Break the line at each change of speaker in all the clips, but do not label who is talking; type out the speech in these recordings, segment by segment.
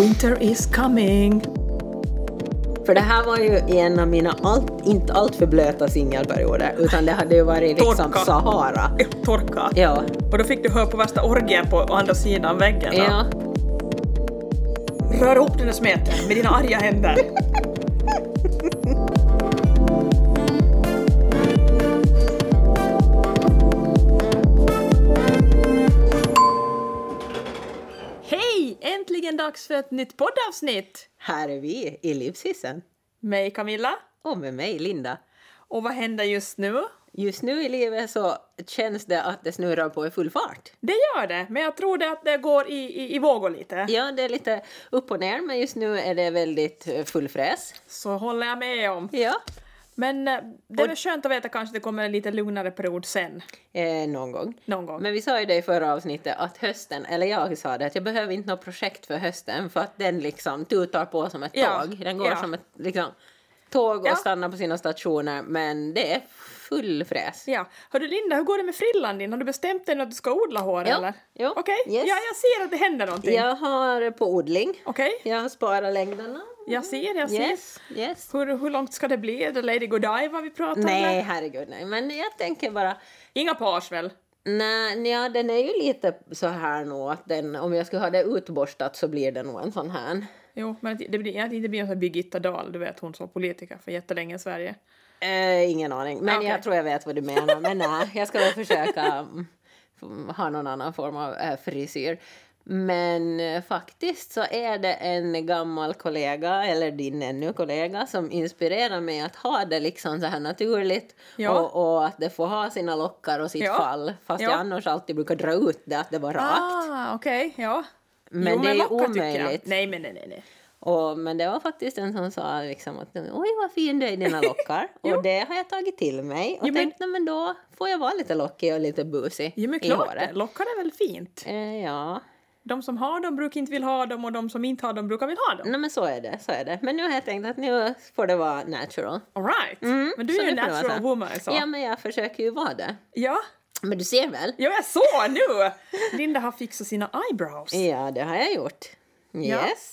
Winter is coming.
För det här var ju en av mina allt, inte allt för blöta singelperioder, utan det hade ju varit liksom
Torka.
Sahara.
Torka.
Ja.
Och då fick du höra på värsta orgien på andra sidan väggen. då.
ja.
Rör ihop den där smeten med dina arga händer. Hej! Äntligen dags för ett nytt poddavsnitt
Här är vi i livshissen.
med Camilla.
Och med mig, Linda.
Och vad händer just nu?
Just nu i livet så känns det att det snurrar på i full fart.
Det gör det, men jag tror det att det går i, i, i vågor lite.
Ja, det är lite upp och ner, men just nu är det väldigt eh, full fräs.
Så håller jag med om.
Ja,
Men eh, det är väl skönt att veta kanske det kommer en lite lugnare period sen,
eh, någon gång.
någon gång.
Men vi sa ju det i förra avsnittet att hösten, eller jag sa det, att jag behöver inte något projekt för hösten för att den liksom tutar på som ett
Ja,
tåg. Den går
ja.
som ett liksom, tåg och
Ja.
stannar på sina stationer men det är full fräs.
Ja. Hördu Linda, hur går det med frillan din? Har du bestämt dig när du ska odla hår
Ja.
eller?
Ja.
Okej?
Yes.
Ja, jag ser att det händer någonting.
Jag har på odling,
Okej?
jag har sparat längderna.
Jag ser, jag ser.
Yes, yes.
Hur, hur långt ska det bli? Är det Lady Godiva vi pratar om?
Nej,
eller?
herregud, nej. Men jag tänker bara,
Inga page väl?
nej, ja, den är ju lite så här nog att den, om jag skulle ha det utborstat så blir det nog en sån här.
Jo, men att det blir, jag tänkte bli en sån här Birgitta Dahl, du vet hon som var politiker för jättelänge i Sverige.
Eh, ingen aning, men
Ah, Okej.
jag tror jag vet vad du menar. Men nej, jag ska väl försöka mm, f- ha någon annan form av eh, frisyr. Men eh, faktiskt så är det en gammal kollega, eller din ännu kollega, som inspirerar mig att ha det liksom så här naturligt
Ja.
och, och att det får ha sina lockar och sitt
Ja.
fall. Fast
Ja.
jag annars alltid brukar dra ut det, att det var rakt.
Ah, okej, ja.
Men
jo,
det är ju
lockar tycker jag.
omöjligt.
Nej, men nej, nej, nej.
Och, men det var faktiskt en som sa liksom att oj vad fin du är i dina lockar.
Jo.
och det har jag tagit till mig. Och
Jo, men-
tänkte men... men då får jag vara lite lockig och lite busig
Jo, men
i
klart det.
håret.
Lockar är väl fint?
Eh, ja,
De som har dem brukar inte vilja ha dem och de som inte har dem brukar vilja ha dem.
Nej, men så är det. Så är det. Men nu har jag tänkt att nu får det vara natural.
Alright!
Mm,
Men du
så
är ju en
det får det vara
natural
så.
woman så.
Ja men jag försöker ju vara det.
Ja,
Men du ser väl?
ja jag såg nu! Linda har fixat sina eyebrows.
Ja det har jag gjort. Eh, Yes.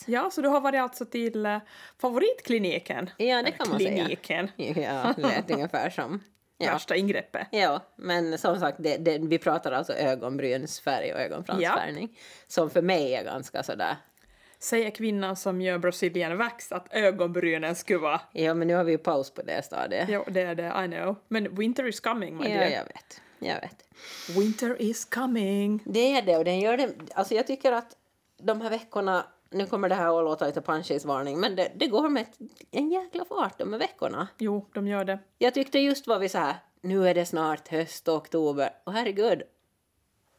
Ja, ja, så du har varit alltså till eh, favoritkliniken.
Ja, det
Eller
kan man säga.
Kliniken.
Ja, lät ungefär som. Ja.
Värsta ingreppet.
Ja, men som sagt, det, det, vi pratar alltså ögonbrynsfärg och ögonfransfärgning. Som för mig är ganska sådär
Säger kvinnan som gör Brazilian wax att ögonbrynen skulle vara...
Ja, men nu har vi ju paus på det stadiet.
Jo, det är det, I know. Men winter is coming, my
Ja,
dear.
jag vet. Jag vet.
Winter is coming.
Det är det och den gör det. Alltså jag tycker att de här veckorna, nu kommer det här att låta lite punchis-varning, men det, det går med ett, en jäkla fart de här veckorna.
Jo, de gör det.
Jag tyckte just var vi så här, nu är det snart höst och oktober och herregud,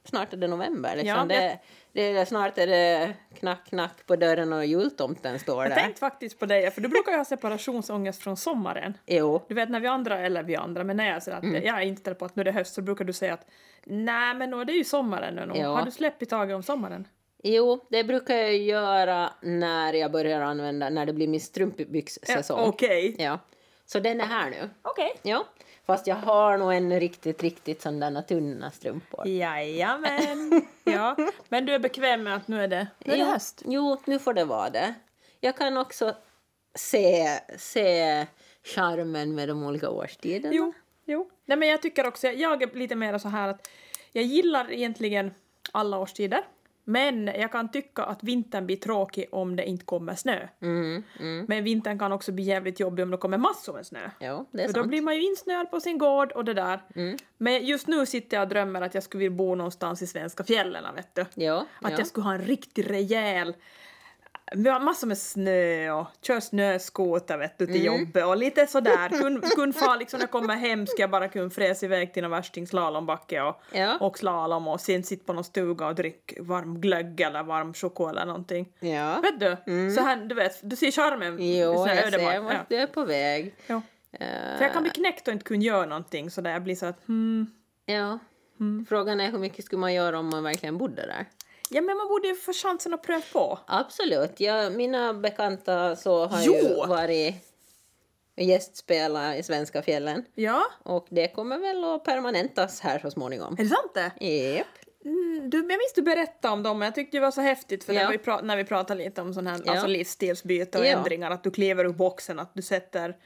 snart är det november liksom.
Ja, det-
det, det, är snart är det knack, knack på dörren och jultomten står
Jag
där.
tänkte faktiskt på dig, för du brukar ju ha separationsångest från sommaren.
Jo,
Du vet när vi andra, eller vi andra, men när jag säger att
Mm.
jag är inställd på att nu är det höst så brukar du säga att nej men nå, det är ju sommaren nu. nå.
Ja.
Har du släppt taget om sommaren?
jo, det brukar jag göra när jag börjar använda, när det blir min strumpbyxsäsong.
Eh, Okej.
Ja. Så den är här nu.
Okej.
Ja. Fast jag har nog ännu riktigt, riktigt sådana tunna strumpor.
Jajamän. ja. Men du är bekväm med att nu är det, nu är det
Jo,
höst?
Jo, nu får det vara det. Jag kan också se, se charmen med de olika årstiderna.
Jo. jo. Nej men jag tycker också, jag är lite mer så här att jag gillar egentligen alla årstider. Men jag kan tycka att vintern blir tråkig om det inte kommer snö.
Mm, mm.
Men vintern kan också bli jävligt jobbig om det kommer massor med snö.
Jo, det är
För då
sant. Mm,
blir man ju insnöad på sin gård och det där. Men just nu sitter jag och drömmer att jag skulle vilja bo någonstans i svenska fjällen, vet du.
Jo,
Att
jo.
jag skulle ha en riktig rejäl med massor med snö och kör snöskoter vet du,
Mm.
till jobbet och lite sådär. Kun, kun far liksom när jag kommer hem ska jag bara kunna fräsa iväg till någon värsting slalombacke och,
Ja.
och slalom och sen sitta på någon stuga och dricka varm glögg eller varm choklad eller någonting.
Ja. Mm.
Vet du? Så här, du vet, du ser charmen i
Jo,
sån här
jag
ödemark.
ser vart du är på väg.
Ja.
Eh,
För jag kan bli knäckt och inte kunna göra någonting så där jag blir så att hmm.
ja. Frågan är hur mycket skulle man göra om man verkligen bodde där?
Ja men man borde ju få chansen att pröva på.
Absolut. Ja, mina bekanta så har
Jo!
ju varit gästspelare i Svenska fjällen.
Ja,
Och det kommer väl att permanentas här så småningom.
är det sant det?
Japp.
Mm, Du, jag minns du berättade om dem men jag tyckte det var så häftigt för
Ja.
när, vi pra- när vi pratade lite om sån här,
Ja.
alltså livsstilsbyte och
Ja.
ändringar att du kliver ur boxen, att du sätter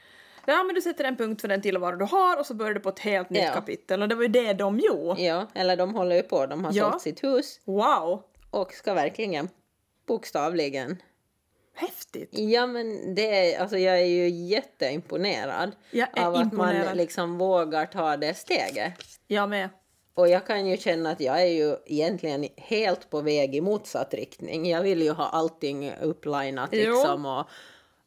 Ja men du sätter en punkt för den tillvaro du har och så börjar du på ett helt nytt
Ja.
kapitel och det var ju det de gjorde.
Ja, eller de håller ju på. De har
Ja.
sålt sitt hus
Wow!
och ska verkligen, bokstavligen.
Häftigt!
Ja, men det är, alltså jag är ju jätteimponerad
Jag är
av att man
imponerad.
liksom vågar ta det steget.
Jag med.
Och jag kan ju känna att jag är ju egentligen helt på väg i motsatt riktning. Jag vill ju ha allting upplinat
Jo.
liksom och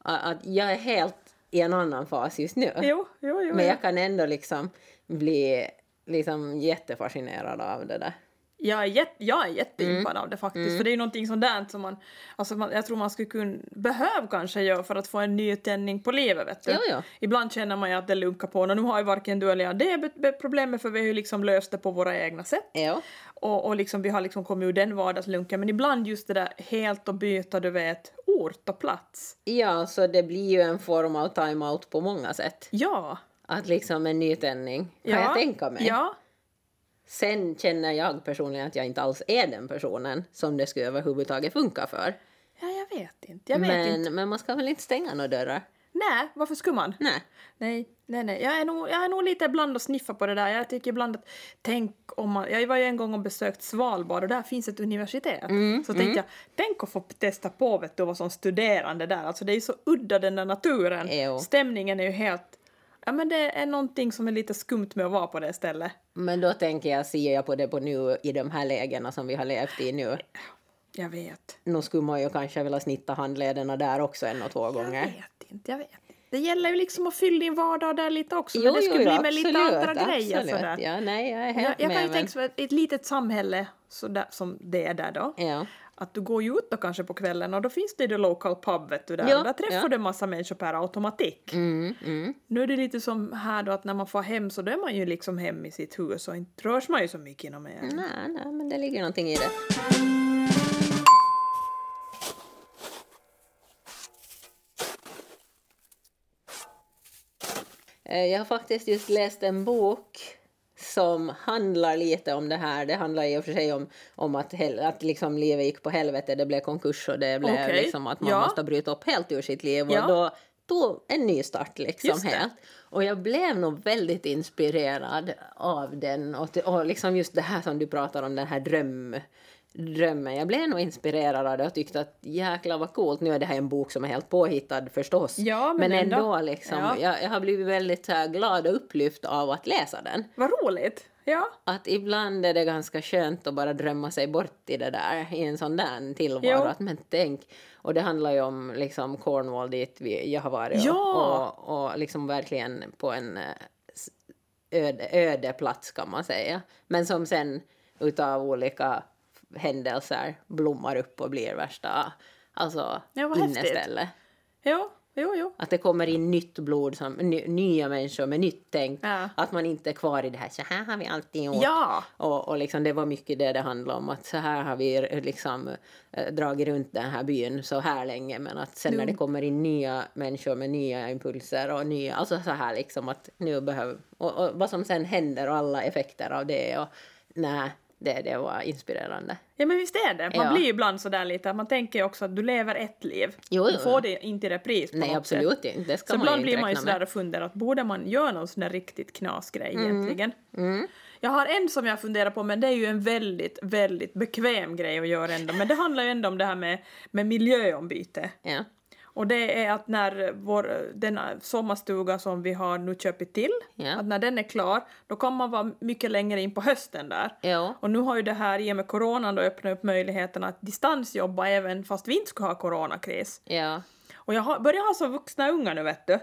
a- att jag är helt i en annan fas just nu.
Jo, jo, jo.
Men
jo.
jag kan ändå liksom bli liksom jättefascinerad av det där.
Jag är, jätt, jag är jätteimpad
Mm.
av det faktiskt, för det är ju någonting sånt där som man, alltså man, jag tror man skulle kunna, behöva kanske göra för att få en ny tändning på livet vet du.
Jo, jo.
Ibland känner man ju att det lunkar på och nu har ju varken du eller jag det be- be- problemet för vi har ju liksom löst det på våra egna sätt.
Ja.
Och, och liksom, vi har liksom kommit ur den vardagslunken men ibland just det där helt att byta du vet ort och plats.
ja, så det blir ju en form av time-out på många sätt.
Ja.
Att liksom en nytändning, kan
ja.
jag tänka mig.
Ja.
Sen känner jag personligen att jag inte alls är den personen som det skulle överhuvudtaget funka för.
Ja, jag vet inte. Jag vet
men,
inte.
men man ska väl inte stänga några dörrar?
Nej, varför skulle man?
Nej.
Nej, nej, nej. Jag är, nog, jag är nog lite ibland och sniffa på det där. Jag tycker ibland att, tänk om man, jag var ju en gång och besökt Svalbard och där finns ett universitet.
Mm,
så tänkte jag, tänk att få testa på vet du, att vara som studerande där. Alltså det är ju så udda den där naturen.
Jo.
Stämningen är ju helt, ja men det är någonting som är lite skumt med att vara på det stället.
Men då tänker jag, ser jag på det på nu i de här lägena som vi har levt i nu.
Jag vet.
Nu skulle man ju kanske vilja snitta handlederna där också en och två
Jag
gånger.
vet inte, jag vet inte. Det gäller ju liksom att fylla din vardag där lite också.
Jo,
men det
jo,
skulle
jo,
bli med lite
absolut,
andra grejer
absolut.
sådär.
Ja, nej, jag är helt
Jag, jag
med.
kan ju
men-
tänka så att ett litet samhälle sådär, som det är där då.
ja.
att du går ju ut då kanske på kvällen och då finns det ju the local pub vet du där
Ja,
och där träffar
ja.
du en massa människor per automatik.
Mm, mm.
Nu är det lite som här då att när man får hem så då är man ju liksom hem i sitt hus och inte rörs man ju så mycket inom en.
Nej, nej, men det ligger någonting i det. Eh, Jag har faktiskt just läst en bok som handlar lite om det här. Det handlar i och för sig om, om att, hel, att liksom livet gick på helvete, det blev konkurs och det blev
Okej,
liksom att man
ja.
måste bryta upp helt ur sitt liv och
Ja.
då tog en ny start liksom
Just det.
helt. Och jag blev nog väldigt inspirerad av den och, och liksom just det här som du pratar om, den här dröm, drömmen. Jag blev nog inspirerad av det och tyckte att jäklar vad coolt. Nu är det här en bok som är helt påhittad förstås.
Ja, men
ändå,
ändå.
liksom.
Ja.
Jag, jag har blivit väldigt så här, glad och upplyft av att läsa den.
Vad roligt! Ja,
Att ibland är det ganska skönt att bara drömma sig bort i det där, i en sån där tillvaro.
Jo.
Att, men tänk, och det handlar ju om liksom Cornwall dit vi, jag har varit och,
Ja.
och, och liksom verkligen på en eh, s- öde, öde plats kan man säga. Men som sen utav olika händelser blommar upp och blir värsta alltså,
Ja, vad häftigt.
inneställe.
jo, jo, jo.
Att det kommer in nytt blod, som, ny, nya människor med nytt tänk.
Ja.
Att man inte är kvar i det här, så här har vi alltid gjort.
Ja!
Och, och liksom det var mycket det det handlade om, att så här har vi eh, liksom eh, dragit runt den här byn så här länge men att sen
Mm.
när det kommer in nya människor med nya impulser och nya, alltså så här liksom att nu behöver, och, och vad som sen händer och alla effekter av det och nej, det, det var inspirerande.
Ja men visst är det, man
Ja.
blir ju ibland sådär lite att man tänker ju också att du lever ett liv.
Jo, jo,
Du får det inte i repris på
Nej
något sätt.
absolut inte, det ska
Så
man ju
ibland
inte
blir man ju
räkna med. Mm.
sådär och funderar att borde man göra någon sån där riktigt knasgrej egentligen? Jag har en som jag funderar på men det är ju en väldigt, väldigt bekväm grej att göra ändå. Men det handlar ju ändå om det här med, med miljöombyte.
Ja.
Och det är att när vår, den sommarstuga som vi har nu köpt till,
Ja.
att när den är klar, då kan man vara mycket längre in på hösten där.
Ja.
Och nu har ju det här i och med coronan då öppnat upp möjligheten att distansjobba även fast vi inte skulle ha coronakris.
Ja. mm,
Och jag har, börjar ha så vuxna ungar nu vet du,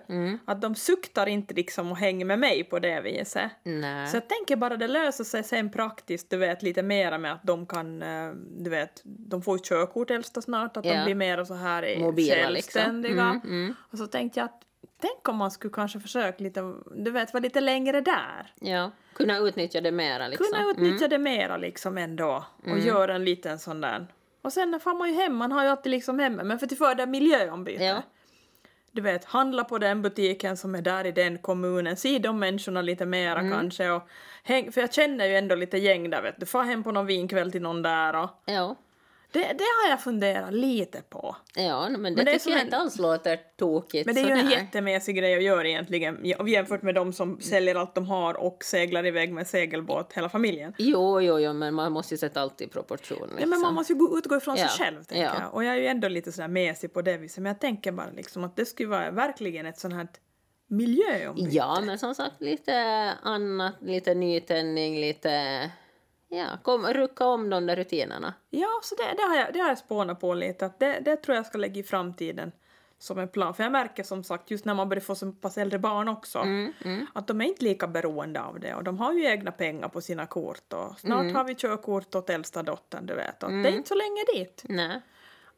att de suktar inte liksom och hänger med mig på det viset.
Nej.
Så jag tänker bara det löser sig sen praktiskt, du vet, lite mera med att de kan, eh, du vet, de får ju körkort äldsta snart, att
Ja.
de blir mera så här eh,
Mobila liksom.
självständiga.
Mm, mm.
Och så tänkte jag att tänk om man skulle kanske försöka lite, du vet, vara lite längre där.
ja. Kunna utnyttja det mera liksom.
Kunna utnyttja det mera liksom ändå och
Mm.
göra en liten sån där. Och sen far man ju hem, man har ju alltid liksom hemma, men för till fördel miljöombyte.
Ja.
du vet, handla på den butiken som är där i den kommunen, se de människorna lite mera
Mm.
kanske och häng, för jag känner ju ändå lite gäng där vet du, få hem på någon vinkväll till någon där och
Ja.
det, det har jag funderat lite på.
Ja, men det,
det är
tycker
som
jag
en-
inte alls låter tokigt.
Men det är ju en
sådär.
jättemesig grej att göra egentligen ja, jämfört med de som säljer allt de har och seglar iväg med segelbåt hela familjen.
Jo, jo, jo, men man måste ju sätta allt i proportion. Liksom.
Ja, men man måste ju gå- utgå ifrån
Ja,
sig själv, tänker
ja.
jag. Och jag är ju ändå lite sådär mesig på det viset, men jag tänker bara liksom att det skulle vara verkligen ett sånt här miljöombyte.
Ja, men som sagt lite annat, lite nytändning, lite... Ja, kom, rucka om de där rutinerna.
Ja, så det, det, har jag, det har jag spånat på lite, att det, det tror jag ska lägga i framtiden som en plan. För jag märker som sagt, just när man börjar få så pass äldre barn också,
Mm.
att de är inte lika beroende av det och de har ju egna pengar på sina kort och snart
Mm.
har vi körkort åt äldsta dottern, du vet. Och Det är inte så länge dit.
Nej.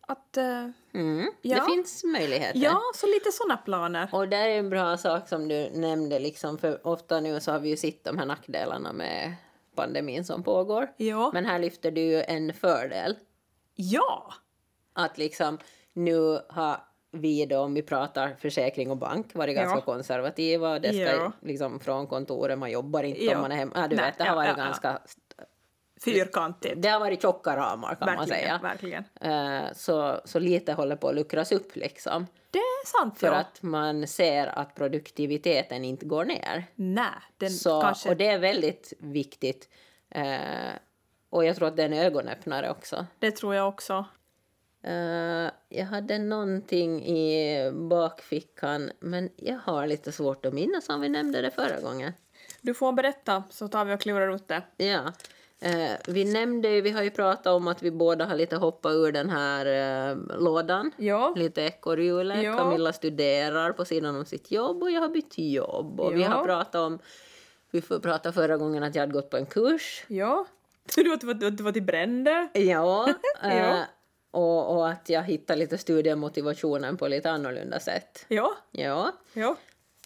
Att, eh,
Mm.
Ja.
Det finns möjligheter.
ja, så lite såna planer.
Och där är en bra sak som du nämnde, liksom, för ofta nu så har vi ju sett de här nackdelarna med pandemin som pågår.
Ja.
Men här lyfter du ju en fördel.
Ja!
Att liksom nu har vi då, om vi pratar försäkring och bank, varit ganska
Ja.
konservativa. Det ska
Ja.
liksom från kontoret, man jobbar inte
Ja.
om man är hemma. Ja, du
Nej,
vet, det har
ja,
varit
ja, ja.
ganska...
Fyrkantigt.
Det har varit tjocka ramar kan man
Verkligen,
säga.
verkligen.
Eh, Så, så lite håller på att luckras upp liksom.
Det är sant.
För
ja.
att man ser att produktiviteten inte går ner.
Nej, den
Så,
kanske...
Och
det...
det är väldigt viktigt. Eh, och jag tror att det är en ögonöppnare också.
tror jag också.
Eh, jag hade någonting i bakfickan, men jag har lite svårt att minnas om vi nämnde det förra gången.
Du får berätta så tar vi och klurar ut det.
Ja. Eh, vi nämnde ju, vi har ju pratat om att vi båda har lite hoppat ur den här eh, lådan.
Ja.
Lite ekorrhjulet.
Ja.
Camilla studerar på sidan om sitt jobb och jag har bytt jobb. Och vi
Ja.
har pratat om, vi får prata förra gången att jag hade gått på en kurs.
Ja. Du att du var, du var till Brände?
Ja,
Ja.
eh, Och, och att jag hittar lite studiemotivationen på lite annorlunda sätt.
Ja.
Ja.
Ja.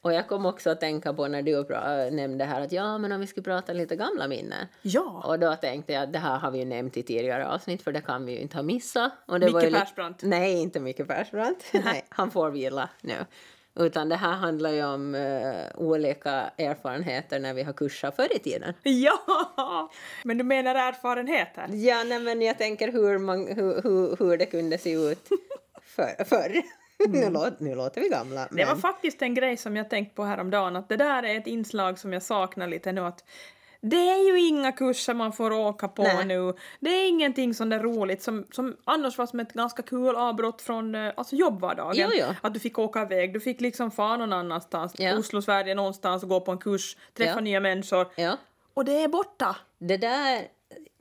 Och jag kom också att tänka på när du pra- nämnde här att ja, men om vi skulle prata lite gamla minnen.
Ja.
Och då tänkte jag att det här har vi ju nämnt i tidigare avsnitt för det kan vi ju inte ha missat. Och det
Micke
ju li-
Persbrandt.
Nej, inte Micke Persbrandt. Nej, han får vila nu. Utan det här handlar ju om eh, olika erfarenheter när vi har kursat förr i tiden.
Ja! Men du menar erfarenheter?
Ja, nej, men jag tänker hur, man, hur, hur, hur det kunde se ut för, förr. nu, låter, nu låter vi gamla.
Det var
Men,
faktiskt en grej som jag tänkt på häromdagen att det där är ett inslag som jag saknar lite nu att det är ju inga kurser man får åka på
Nej.
nu. Det är ingenting sånt där roligt som, som annars var som ett ganska kul avbrott från eh, alltså jobbvardagen.
Jo, jo.
Att du fick åka iväg, du fick liksom fara någon annanstans,
Ja.
Oslo, Sverige någonstans och gå på en kurs, träffa
Ja.
nya människor.
ja,
Och det är borta!
det där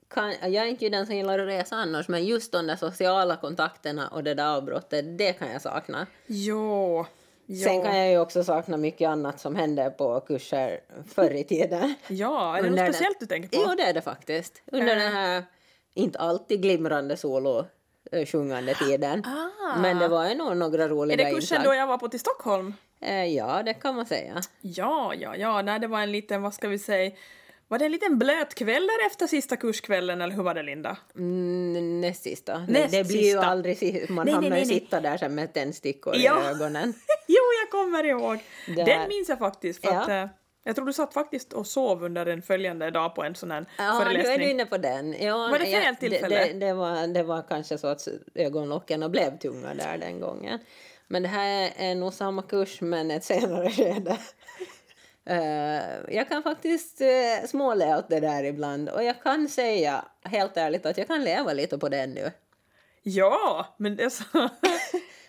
kan, jag är inte ju den som gillar att resa annars, men just de där sociala kontakterna och det där avbrottet, det kan jag sakna.
Jo. jo.
Sen kan jag ju också sakna mycket annat som hände på kurser förr i tiden.
Ja, är det något
Under den-
speciellt du tänker på?
Jo, det är det faktiskt.
Eh.
Under den här inte alltid glimrande solo eh, sjungande tiden.
Ah.
Men det var ju nog några
är
roliga
det kursen då jag var på till Stockholm?
Eh, Ja, det kan man säga.
Ja, ja, ja. Nej, det var en liten, vad ska vi säga, var det en liten blöt kväll där efter sista kurskvällen eller hur var det Linda?
Mm, näst sista. Nej,
Näst
det blir ju
sista.
aldrig si- Man
Nej,
hamnar
nej,
ju
nej, nej.
sitta där sen med tändstickor
Ja.
i ögonen.
jo, jag kommer ihåg!
Där.
Den minns jag faktiskt för
Ja.
att eh, jag tror du satt faktiskt och sov under en följande dag på en sån här
Ja, nu är
föreläsning.
du inne på den. Ja,
Var det
nej, jag-
fel tillfälle?
Det, det, det, var, det var kanske så att ögonlocken blev tunga där den gången. Men det här är nog samma kurs, men ett senare skede. Eh, jag kan faktiskt uh, småle åt det där ibland och jag kan säga helt ärligt att jag kan leva lite på det nu.
Ja, men det så...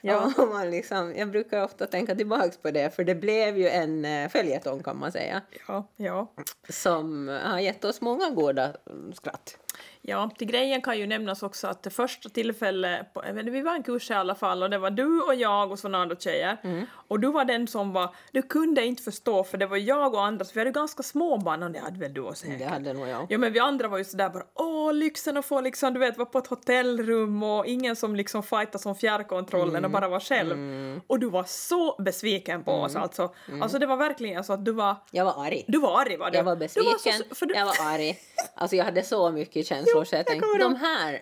ja.
Ja. Man liksom, jag brukar ofta tänka tillbaka på det, för det blev ju en eh, följetong kan man säga,
ja, ja.
som har gett oss många goda mm, skratt.
Ja, till grejen kan ju nämnas också att det första tillfället, på, jag vet inte, vi var en kurs i alla fall och det var du och jag och så några andra tjejer.
Mm.
Och du var den som var, du kunde inte förstå för det var jag och andra, så vi hade ganska små barn och det hade väl du och
Det
säkert.
hade nog jag.
Ja men vi andra var ju sådär bara åh lyxen att få liksom du vet vara på ett hotellrum och ingen som liksom fightar som fjärrkontrollen
Mm.
och bara vara själv. Och du var så besviken på
Mm.
oss alltså. Alltså det var verkligen så att du var,
Jag var arg.
du var arg var du.
Jag var
Du så-
besviken,
för du-
jag var arg. Alltså jag hade så mycket känslor så jag tänkte,
kommer
de här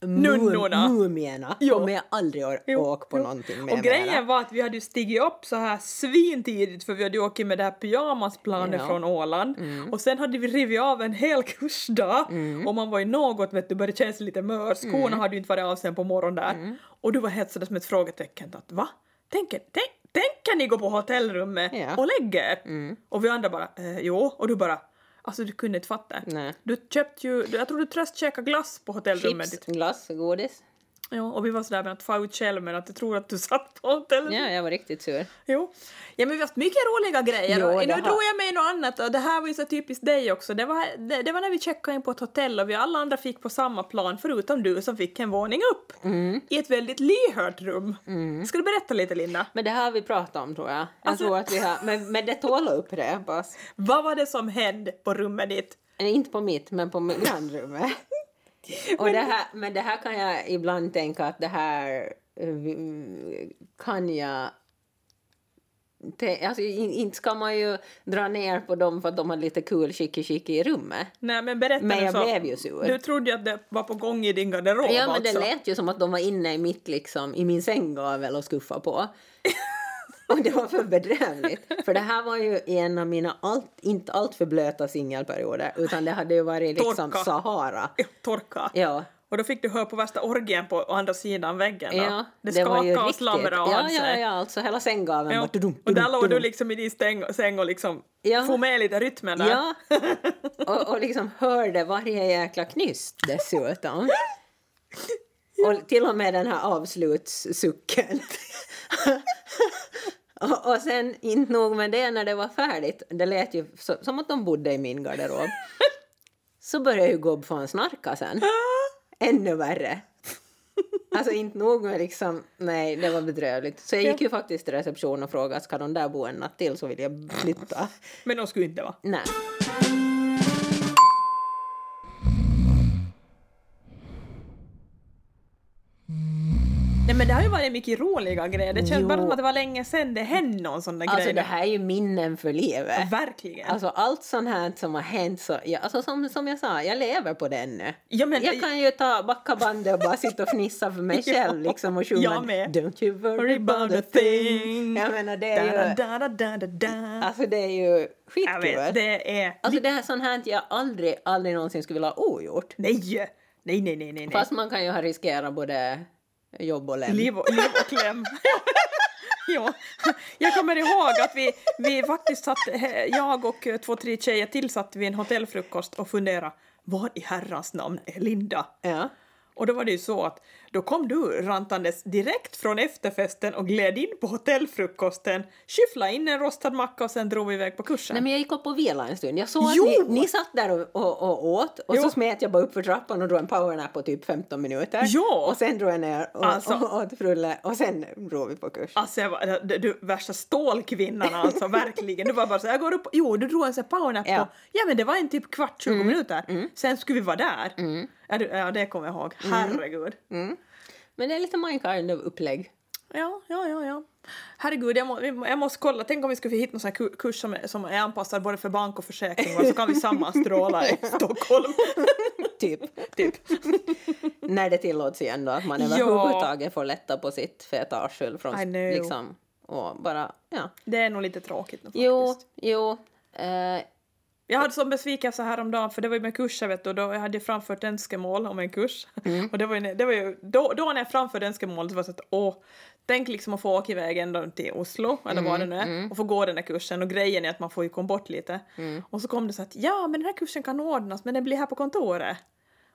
Nunnorna.
mum- mumierna.
Jo.
De är aldrig å-
Jo,
åkt på
jo.
någonting med
Och grejen var att vi hade ju stigit upp så här svintidigt för vi hade ju åkt med det här pyjamasplanet
Ja. Mm.
från Åland och sen hade vi rivit av en hel kursdag och man var ju något vet du började känna sig lite mör, skorna
Mm.
hade ju inte varit av sen på morgonen där och du var helt sådär som ett frågetecken att va? Tänker, tänk, tänker ni gå på hotellrummet
Ja.
och lägga er?
Mm.
Och vi andra bara eh, jo och du bara alltså du kunde inte fatta.
Nej.
Du köpte ju, jag tror du tröstkäkade glass på hotellrummet
Chips,
ditt.
glass, godis.
Ja, och vi var sådär med att få ut själv men att jag tror att du satt på hotellrummet.
Ja, jag var riktigt sur.
Jo. Ja men vi har haft mycket roliga grejer.
Jo,
och
det
nu
har-
drog jag mig något annat och det här var ju så typiskt dig också. Det var, det, det var när vi checkade in på ett hotell och vi alla andra fick på samma plan förutom du som fick en våning upp.
Mm.
I ett väldigt lyhört rum. Ska du berätta lite Linda?
Men det här har vi pratat om tror jag. Jag
Alltså-
tror att vi har... Men, men det tål att upprepas.
Vad var det som hände på rummet ditt?
Nej, Inte på mitt, men på min- grannrummet. Och det här, men det här kan jag ibland tänka att det här eh, kan jag... te- Alltså, in- inte ska man ju dra ner på dem för att de har lite kul chicky-chicky i rummet.
Nej men berätta
Men
nu
jag
så.
blev ju sur.
Du trodde ju att det var på gång i din garderob
Ja, men det
alltså.
lät ju som att de var inne i mitt liksom, i min sänggavel och skuffa på. och det var för bedrövligt. För det här var ju en av mina allt, inte allt för blöta singelperioder utan det hade ju varit liksom
Torka.
Sahara.
Ja, Torka.
Ja.
Och då fick du höra på värsta orgien på andra sidan väggen. då.
Ja,
det skakade och slamrade och
ja,
hade
ja,
sig.
ja, alltså hela sänggaveln
Ja.
var tudum,
Och där
tudum,
låg du
tudum.
liksom i din stäng, säng och liksom
Ja.
få med lite rytmen där.
Ja, och, och liksom hörde varje jäkla knyst dessutom. Och till och med den här avslutssucken. och, och sen, inte nog med det, när det var färdigt, det lät ju så, som att de bodde i min garderob, så började ju gubbfan snarka sen.
Ah!
Ännu värre. Alltså inte nog med liksom, nej det var bedrövligt. Så jag gick ju faktiskt till reception och frågade ska de där bo en natt till så vill jag flytta.
Men de skulle inte va?
Nej.
Nej men det har ju varit mycket roliga grejer. Det känns
Jo.
bara som att det var länge sedan det hände någon sån där
Alltså
grej.
det här är ju minnen för livet.
Verkligen.
Alltså allt sånt här som har hänt, så, ja, alltså, som, som jag sa, jag lever på det ännu.
ja, men,
Jag kan ju ta backa bandet och bara sitta och fnissa för mig själv liksom och sjunga
jag med.
Don't you worry
Worry
about a thing. Jag menar det är ju,
Da, da, da, da, da.
alltså, det är ju
Jag vet,
skitkul.
det är...
Alltså det här är sånt här jag aldrig, aldrig någonsin skulle vilja ha ogjort.
Nej! Nej, nej, nej, nej. nej.
Fast man kan ju ha riskerat både jobb och lem.
Liv och, liv och kläm. ja. Jag kommer ihåg att vi, vi faktiskt satt, he- jag och eh, två, tre tjejer till satt vid en hotellfrukost och funderade vad i herrans namn är Linda?
Ja.
Och då var det ju så att då kom du rantandes direkt från efterfesten och gled in på hotellfrukosten, skyffla in en rostad macka och sen drog vi iväg på kursen.
Nej, men jag gick upp och vilade en stund. Jag såg
Jo!
att ni, ni satt där och, och, och åt och så
Jo.
smet jag bara upp för trappan och drog en powernap på typ 15 minuter.
Ja!
Och sen drog jag ner och,
Alltså.
och åt frulle och sen drog vi på kurs.
Alltså jag var, du, du värsta stålkvinnan alltså, verkligen. Du var bara så jag går upp, jo du drog en sån här powernap
Ja. Mm.
på, ja men det var en typ kvart, 20 minuter, sen skulle vi vara där. Ja, du, ja det kommer jag ihåg,
Mm.
herregud.
Men det är lite my kind of upplägg.
Ja, ja, ja, ja. Herregud, jag, må, vi må- jag måste kolla, tänk om vi skulle få hit någon sån här ku- kurs som, är- som är anpassad både för bank och försäkring va? så kan vi sammanstråla i Stockholm.
Typ.
typ.
När det tillåts igen då, att man
Ja.
överhuvudtaget får lätta på sitt feta arsel från
I know.
liksom och bara, ja.
Det är nog lite tråkigt nu faktiskt.
Jo, jo. Eh,
Jag hade sån besvikelse häromdagen för det var ju med kurser vet du och då jag hade jag framfört önskemål om en kurs. Och det var ju, när- det var ju då, då när jag framförde önskemål så var det så att åh, tänk liksom att få åka iväg ända till Oslo eller vad det nu är och få gå den här kursen och grejen är att man får ju komma bort lite. Och så kom det så att ja men den här kursen kan ordnas men den blir här på kontoret.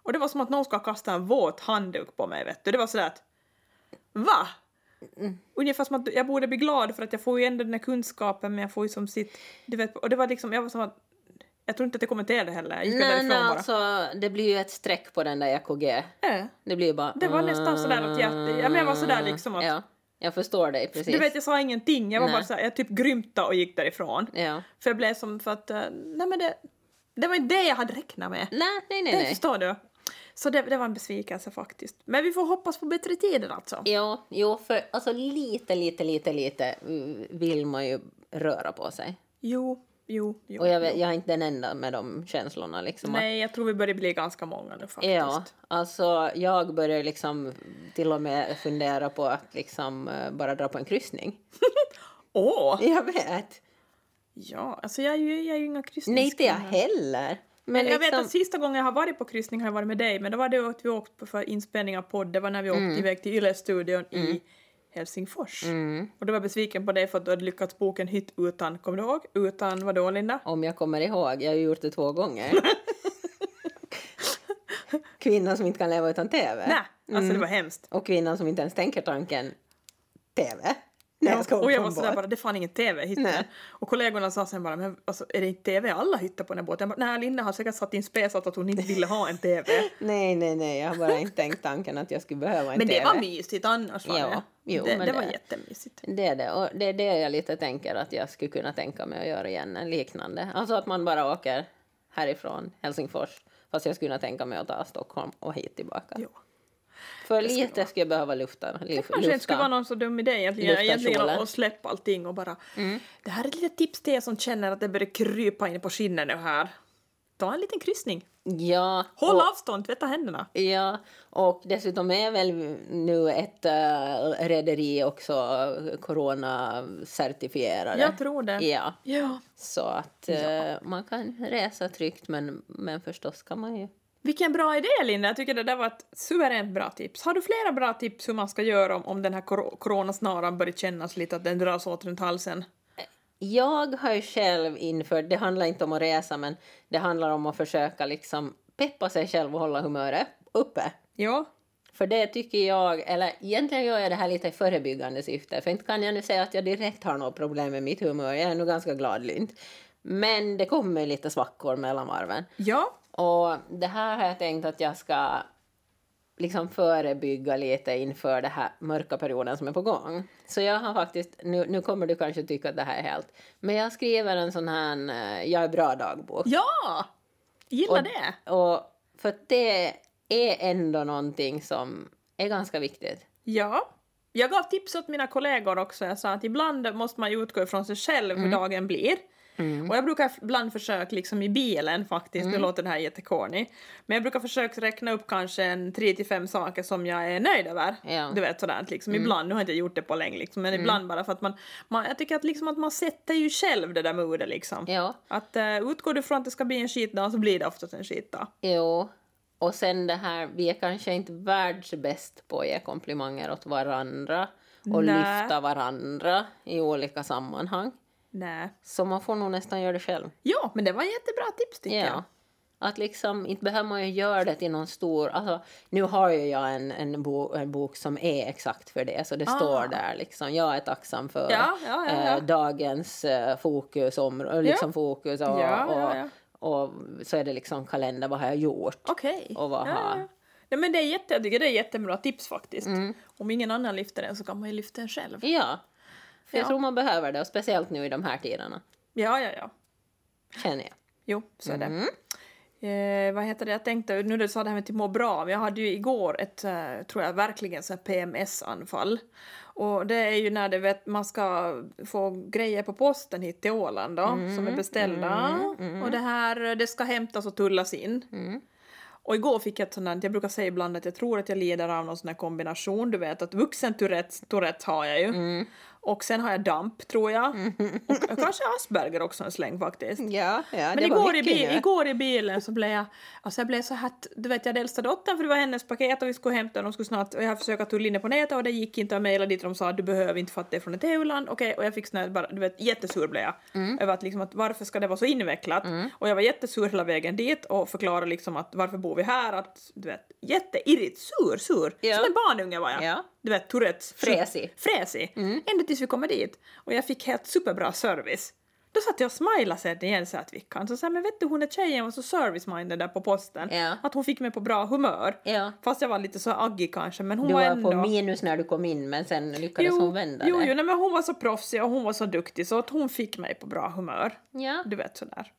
Och det var som att någon ska kasta en våt handduk på mig vet du. Det var sådär att va?
Mm.
Ungefär som att jag borde bli glad för att jag får ju ändå den här kunskapen men jag får ju som sitt, du vet, och det var liksom, jag var som att jag tror inte att jag kommenterade heller, jag gick
nej,
därifrån
nej,
bara.
alltså det blir ju ett streck på den där E EKG.
Äh,
Det blir ju bara... "Ah."
Det var nästan sådär att jag- ja, men jag var sådär liksom att-
Ja, jag förstår dig precis.
du vet, jag sa ingenting, jag var
Nej.
bara såhär, jag typ grymta och gick därifrån.
Ja.
För jag blev som för att, eh, nej men det, det var ju det jag hade räknat med.
Nej, nej, nej.
Det
nej.
förstår du. Så det, det var en besvikelse faktiskt. Men vi får hoppas på bättre tider alltså.
Jo, jo, för alltså lite, lite, lite, lite mm, vill man ju röra på sig.
Jo, jo. jo
Och jag, vet,
jo.
jag är inte den enda med de känslorna. Liksom. Att-
Nej, jag tror vi börjar bli ganska många nu faktiskt.
Ja, alltså jag börjar liksom till och med fundera på att liksom eh, bara dra på en kryssning.
Åh!
Jag vet.
Ja, alltså jag är ju, jag är ju inga kryssningskvinna.
Nej, inte jag heller. Men
jag vet
liksom,
att sista gången jag har varit på kryssning har jag varit med dig, men då var det att vi åkte på- för inspelning av podd, det var när vi åkte
Mm.
iväg till Yle-studion i Helsingfors.
Mm.
Och då var jag besviken på dig för att du hade lyckats boka en hytt utan, kommer du ihåg? Utan, vadå Linda?
om jag kommer ihåg, jag har ju gjort det två gånger. kvinnan som inte kan leva utan TV.
Nej, alltså
Mm.
det var hemskt.
Och kvinnan som inte ens tänker tanken TV. När jag ska
och jag
åka
var sådär
ombord.
bara, det är fan ingen TV i hytten.
Nej.
Och kollegorna sa sen bara, men alltså, är det inte TV alla hyttar på den här båten? Jag bara, nej Linda har säkert satt in spesat att hon inte ville ha en TV.
Nej, nej, nej, jag har bara inte tänkt tanken att jag skulle behöva en
Men
TV.
det var mysigt annars var
Ja,
det.
jo,
det,
men
det var
det-
jättemysigt.
Det är det, och det är det jag lite tänker att jag skulle kunna tänka mig att göra igen, en liknande. Alltså att man bara åker härifrån Helsingfors, fast jag skulle kunna tänka mig att ta Stockholm och hit tillbaka.
Ja.
För lite skulle jag behöva lufta. luf-
Kanske inte skulle vara någon så dum idé egentligen,
Lufta
egentligen
kjolen.
att släppa allting och bara...
Mm.
Det här är ett litet tips till er som känner att det börjar krypa in på skinnet nu här. Ta en liten kryssning.
Ja,
Håll
och,
avstånd, tvätta händerna.
ja, och dessutom är väl nu ett uh, rederi också coronacertifierade.
Jag tror det.
Ja,
Ja.
så att eh, man kan resa tryggt, men, men förstås kan man ju
Vilken bra idé Linda, jag tycker det där var ett suveränt bra tips. Har du flera bra tips hur man ska göra om, om den här kor- coronasnaran börjar kännas lite att den dras åt runt halsen?
Jag har ju själv infört, det handlar inte om att resa men det handlar om att försöka liksom peppa sig själv och hålla humöret uppe.
Ja.
För det tycker jag, eller egentligen gör jag det här lite i förebyggande syfte för inte kan jag nu säga att jag direkt har något problem med mitt humör, jag är nog ganska gladlynt. Men det kommer lite svackor mellan varven.
Ja.
Och det här har jag tänkt att jag ska liksom förebygga lite inför den här mörka perioden som är på gång. Så jag har faktiskt, nu, nu kommer du kanske tycka att det här är helt, men jag skriver en sån här eh, jag är bra dagbok.
Ja! Gillar det.
Och för att det är ändå någonting som är ganska viktigt.
Ja. Jag gav tips åt mina kollegor också. Jag sa att ibland måste man ju utgå ifrån sig själv
Mm.
hur dagen blir. Och jag brukar ibland försöka, liksom i bilen faktiskt,
Mm.
nu låter det här jättekornig, men jag brukar försöka räkna upp kanske en tre till fem saker som jag är nöjd över.
Ja. Mm.
Du vet sådant liksom, ibland, nu har inte jag gjort det på länge liksom, men ibland bara för att man, man jag tycker att, liksom, att man sätter ju själv det där modet liksom.
Ja,
Att uh, utgår du från att det ska bli en skitdag så blir det oftast en skitdag.
jo. Och sen det här, vi är kanske inte världsbäst på att ge komplimanger åt varandra och
Nej.
lyfta varandra i olika sammanhang.
Nej.
Så man får nog nästan göra det själv.
Ja, men det var jättebra tips tycker jag.
Ja. Att liksom, inte behöver man ju göra det till någon stor... Alltså, nu har ju jag en, en, bo, en bok som är exakt för det, så det
Ah.
står där liksom. Jag är tacksam för
Ja, ja, ja,
eh,
ja.
dagens eh, fokus, om, liksom fokus och,
Ja,
och,
ja, ja.
och så är det liksom kalender, vad har jag gjort?
Okej.
Och vad har-
Nej, men det är jätte, jag tycker det är jättebra tips faktiskt. Om ingen annan lyfter den så kan man ju lyfta den själv.
Mm. Ja. För
Ja.
jag tror man behöver det, och speciellt nu i de här tiderna,
Ja, ja, ja.
känner jag.
Jo, så är det.
Mm.
Eh, vad heter det, jag tänkte, nu när du sa det här med att må bra, men jag hade ju igår ett, eh, tror jag, verkligen så här PMS-anfall. Och det är ju när det vet, man ska få grejer på posten hit till Åland då, som
Mm.
är beställda. Och det här, det ska hämtas och tullas in. Och igår fick jag ett sånt där, jag brukar säga ibland att jag tror att jag lider av någon sån här kombination, du vet att vuxen Tourettes, Tourettes har jag ju. Och sen har jag DAMP tror jag. Och kanske Asperger också en släng faktiskt.
Ja, ja
Men igår i, bil, igår i bilen så blev jag, alltså jag blev så här, du vet jag hade äldsta dottern för det var hennes paket och vi skulle hämta den och skulle snart, och jag försökte tulla in det på nätet och det gick inte, jag mejlade dit och de sa du behöver inte för att det är från ett EU-land, okej, och jag fick sån här, bara, du vet jättesur blev jag
Mm.
över att, liksom, att varför ska det vara så invecklat? Och jag var jättesur hela vägen dit och förklarade liksom att varför bor vi här? Att, du vet, jätteirrigt, sur, sur,
Ja.
som en barnunge var jag.
Ja.
Du vet, Tourettes.
Fräsig. Mm.
Fräsig. Ända tills vi kommer dit. Och jag fick helt superbra service. Då satt jag och smilade sen igen så att vi kan. Så sa men vet du hon är tjejen var så service-minded där på posten.
Ja.
Att hon fick mig på bra humör.
Ja.
Fast jag var lite så aggig kanske men hon
Du
var
var
ändå...
på minus när du kom in, men sen lyckades hon vända
jo,
det.
jo nej, men hon var så proffsig och hon var så duktig så att hon fick mig på bra humör.
Ja.
Du vet sådär.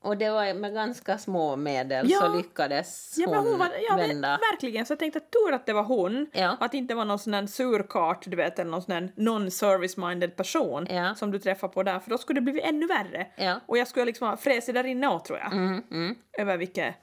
Och det var med ganska små medel
Ja.
så lyckades
Ja, men hon var, ja, men
vända.
verkligen, så jag tänkte att tur att det var hon.
Ja.
Att det inte var någon sån där surkart, du vet, eller någon sån där non-service-minded person
Ja.
som du träffar på där, för då skulle det blivit ännu värre.
Ja.
Och jag skulle liksom ha fräsit där inne åt, tror jag,
Mm, mm.
över vilket,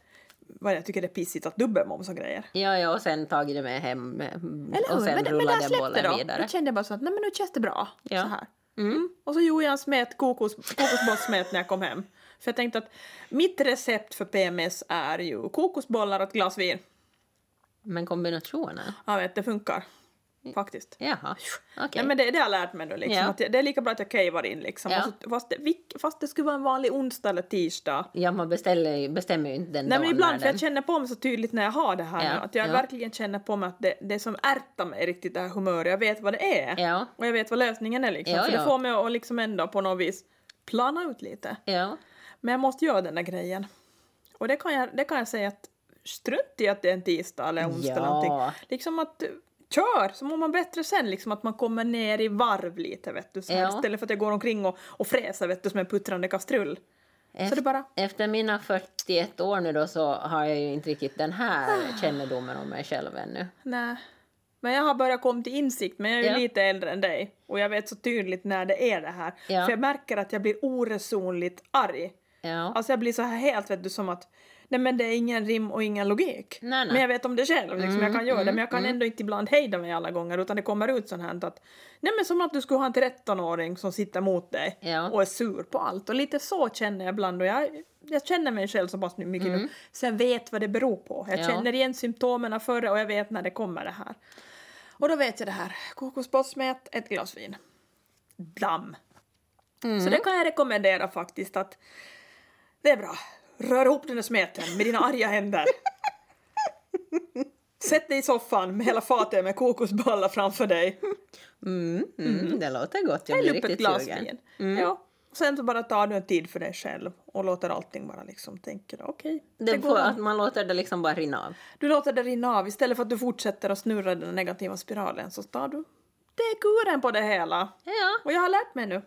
vad jag tycker det är pissigt att dubbelmoms och grejer.
Ja, ja, och sen tagit det med hem eh,
Eller
Mm. och
hur?
sen
Men, men där
rullade
släppte
bollen
då.
vidare.
Då kände jag bara så att nej men nu känns det bra.
Ja.
Så här.
Mm.
Och så gjorde jag en smet, kokos, kokosbollssmet när jag kom hem. För jag tänkte att mitt recept för PMS är ju kokosbollar och ett glas vin.
Men kombinationen?
Jag vet, det funkar. Faktiskt.
Jaha, okej.
Nej, men det, det har jag lärt mig då liksom.
Ja.
Att det det är lika bra att jag cavar in liksom.
Ja.
Och så, fast, det, vilk- fast det skulle vara en vanlig onsdag eller tisdag.
Ja, man beställer, ju- bestämmer ju inte den
Nej
dagen.
men ibland,
när
för jag
den-
känner på mig så tydligt när jag har det här
Ja,
nu, Att jag
ja.
verkligen känner på mig att det, det som ärtar mig riktigt det här humöret, jag vet vad det är.
Ja,
Och jag vet vad lösningen är liksom.
Ja,
så det
ja.
får mig att liksom ändå på något vis plana ut lite.
ja.
Men jag måste göra den där grejen. Och det kan jag, det kan jag säga att strunt i att det är en tisdag eller onsdag eller
Ja.
någonting. Liksom att eh, kör så mår man bättre sen liksom att man kommer ner i varv lite vet du. Så här,
Ja.
Istället för att jag går omkring och, och fräser vet du som en puttrande kastrull. Så
Efter,
det bara
efter mina 41 år nu då så har jag ju inte riktigt den
Ah.
här kännedomen om mig själv ännu.
nej. Men jag har börjat komma till insikt men jag är ju
Ja.
lite äldre än dig. Och jag vet så tydligt när det är det här.
Ja.
För jag märker att jag blir oresonligt arg.
Ja.
Alltså jag blir så här helt vet du som att nej men det är ingen rim och ingen logik.
Nej, nej.
Men jag vet om det själv, liksom, jag kan göra det
mm,
men jag kan ändå inte ibland hejda mig alla gånger utan det kommer ut sånt här att nej men som att du skulle ha en 13-åring som sitter mot dig
Ja.
och är sur på allt och lite så känner jag ibland och jag, jag känner mig själv så pass mycket nu så jag vet vad det beror på. Jag
Mm. Ja.
känner igen symptomen före och jag vet när det kommer det här. Och då vet jag det här, kokosbollssmet, ett glas vin. Damm!
Mm,
Så det kan jag rekommendera faktiskt att det är bra. Rör ihop den där smeten med dina arga händer. Sätt dig i soffan med hela fatet med kokosbollar framför dig.
Mm, mm, Det låter gott, jag
Häll
blir
upp ett
riktigt
glas
sugen. Mm.
vin. Ja. Och Sen så bara tar du en tid för dig själv och låter allting bara liksom tänka okej. det
Det
går
får,
bra.
att man låter det liksom bara rinna av.
Du låter det rinna av istället för att du fortsätter att snurra den negativa spiralen så tar du det är kuren på det hela.
Ja.
Och jag har lärt mig nu.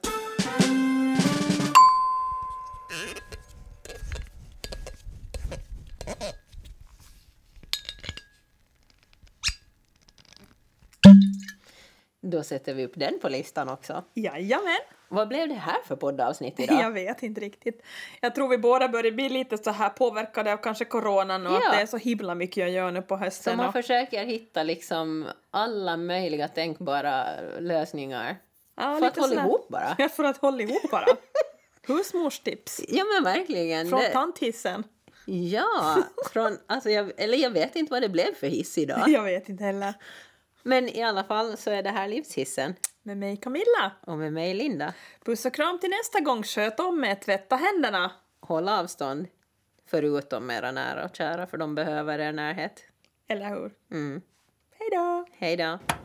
Då sätter vi upp den på listan också.
Jajamän!
Vad blev det här för poddavsnitt idag?
Jag vet inte riktigt. Jag tror vi båda börjar bli lite så här påverkade av kanske coronan och
Ja.
att det är så himla mycket jag gör nu på
Så
hösten.
man
Och,
försöker hitta liksom alla möjliga tänkbara lösningar.
Ja,
för att
lite
hålla
sådär.
ihop bara.
Ja, för att hålla ihop bara. Husmorstips
Ja men verkligen.
från
Det-
tanthissen.
ja, från, alltså jag, eller jag vet inte vad det blev för hiss idag.
Jag vet inte heller.
Men i alla fall så är det här livshissen.
Med mig Camilla.
Och med mig Linda.
Puss och kram till nästa gång. Sköt om er, tvätta händerna.
Håll avstånd. Förutom era nära och kära för de behöver er närhet.
Eller hur?
Mm.
Hej då!
Hej då.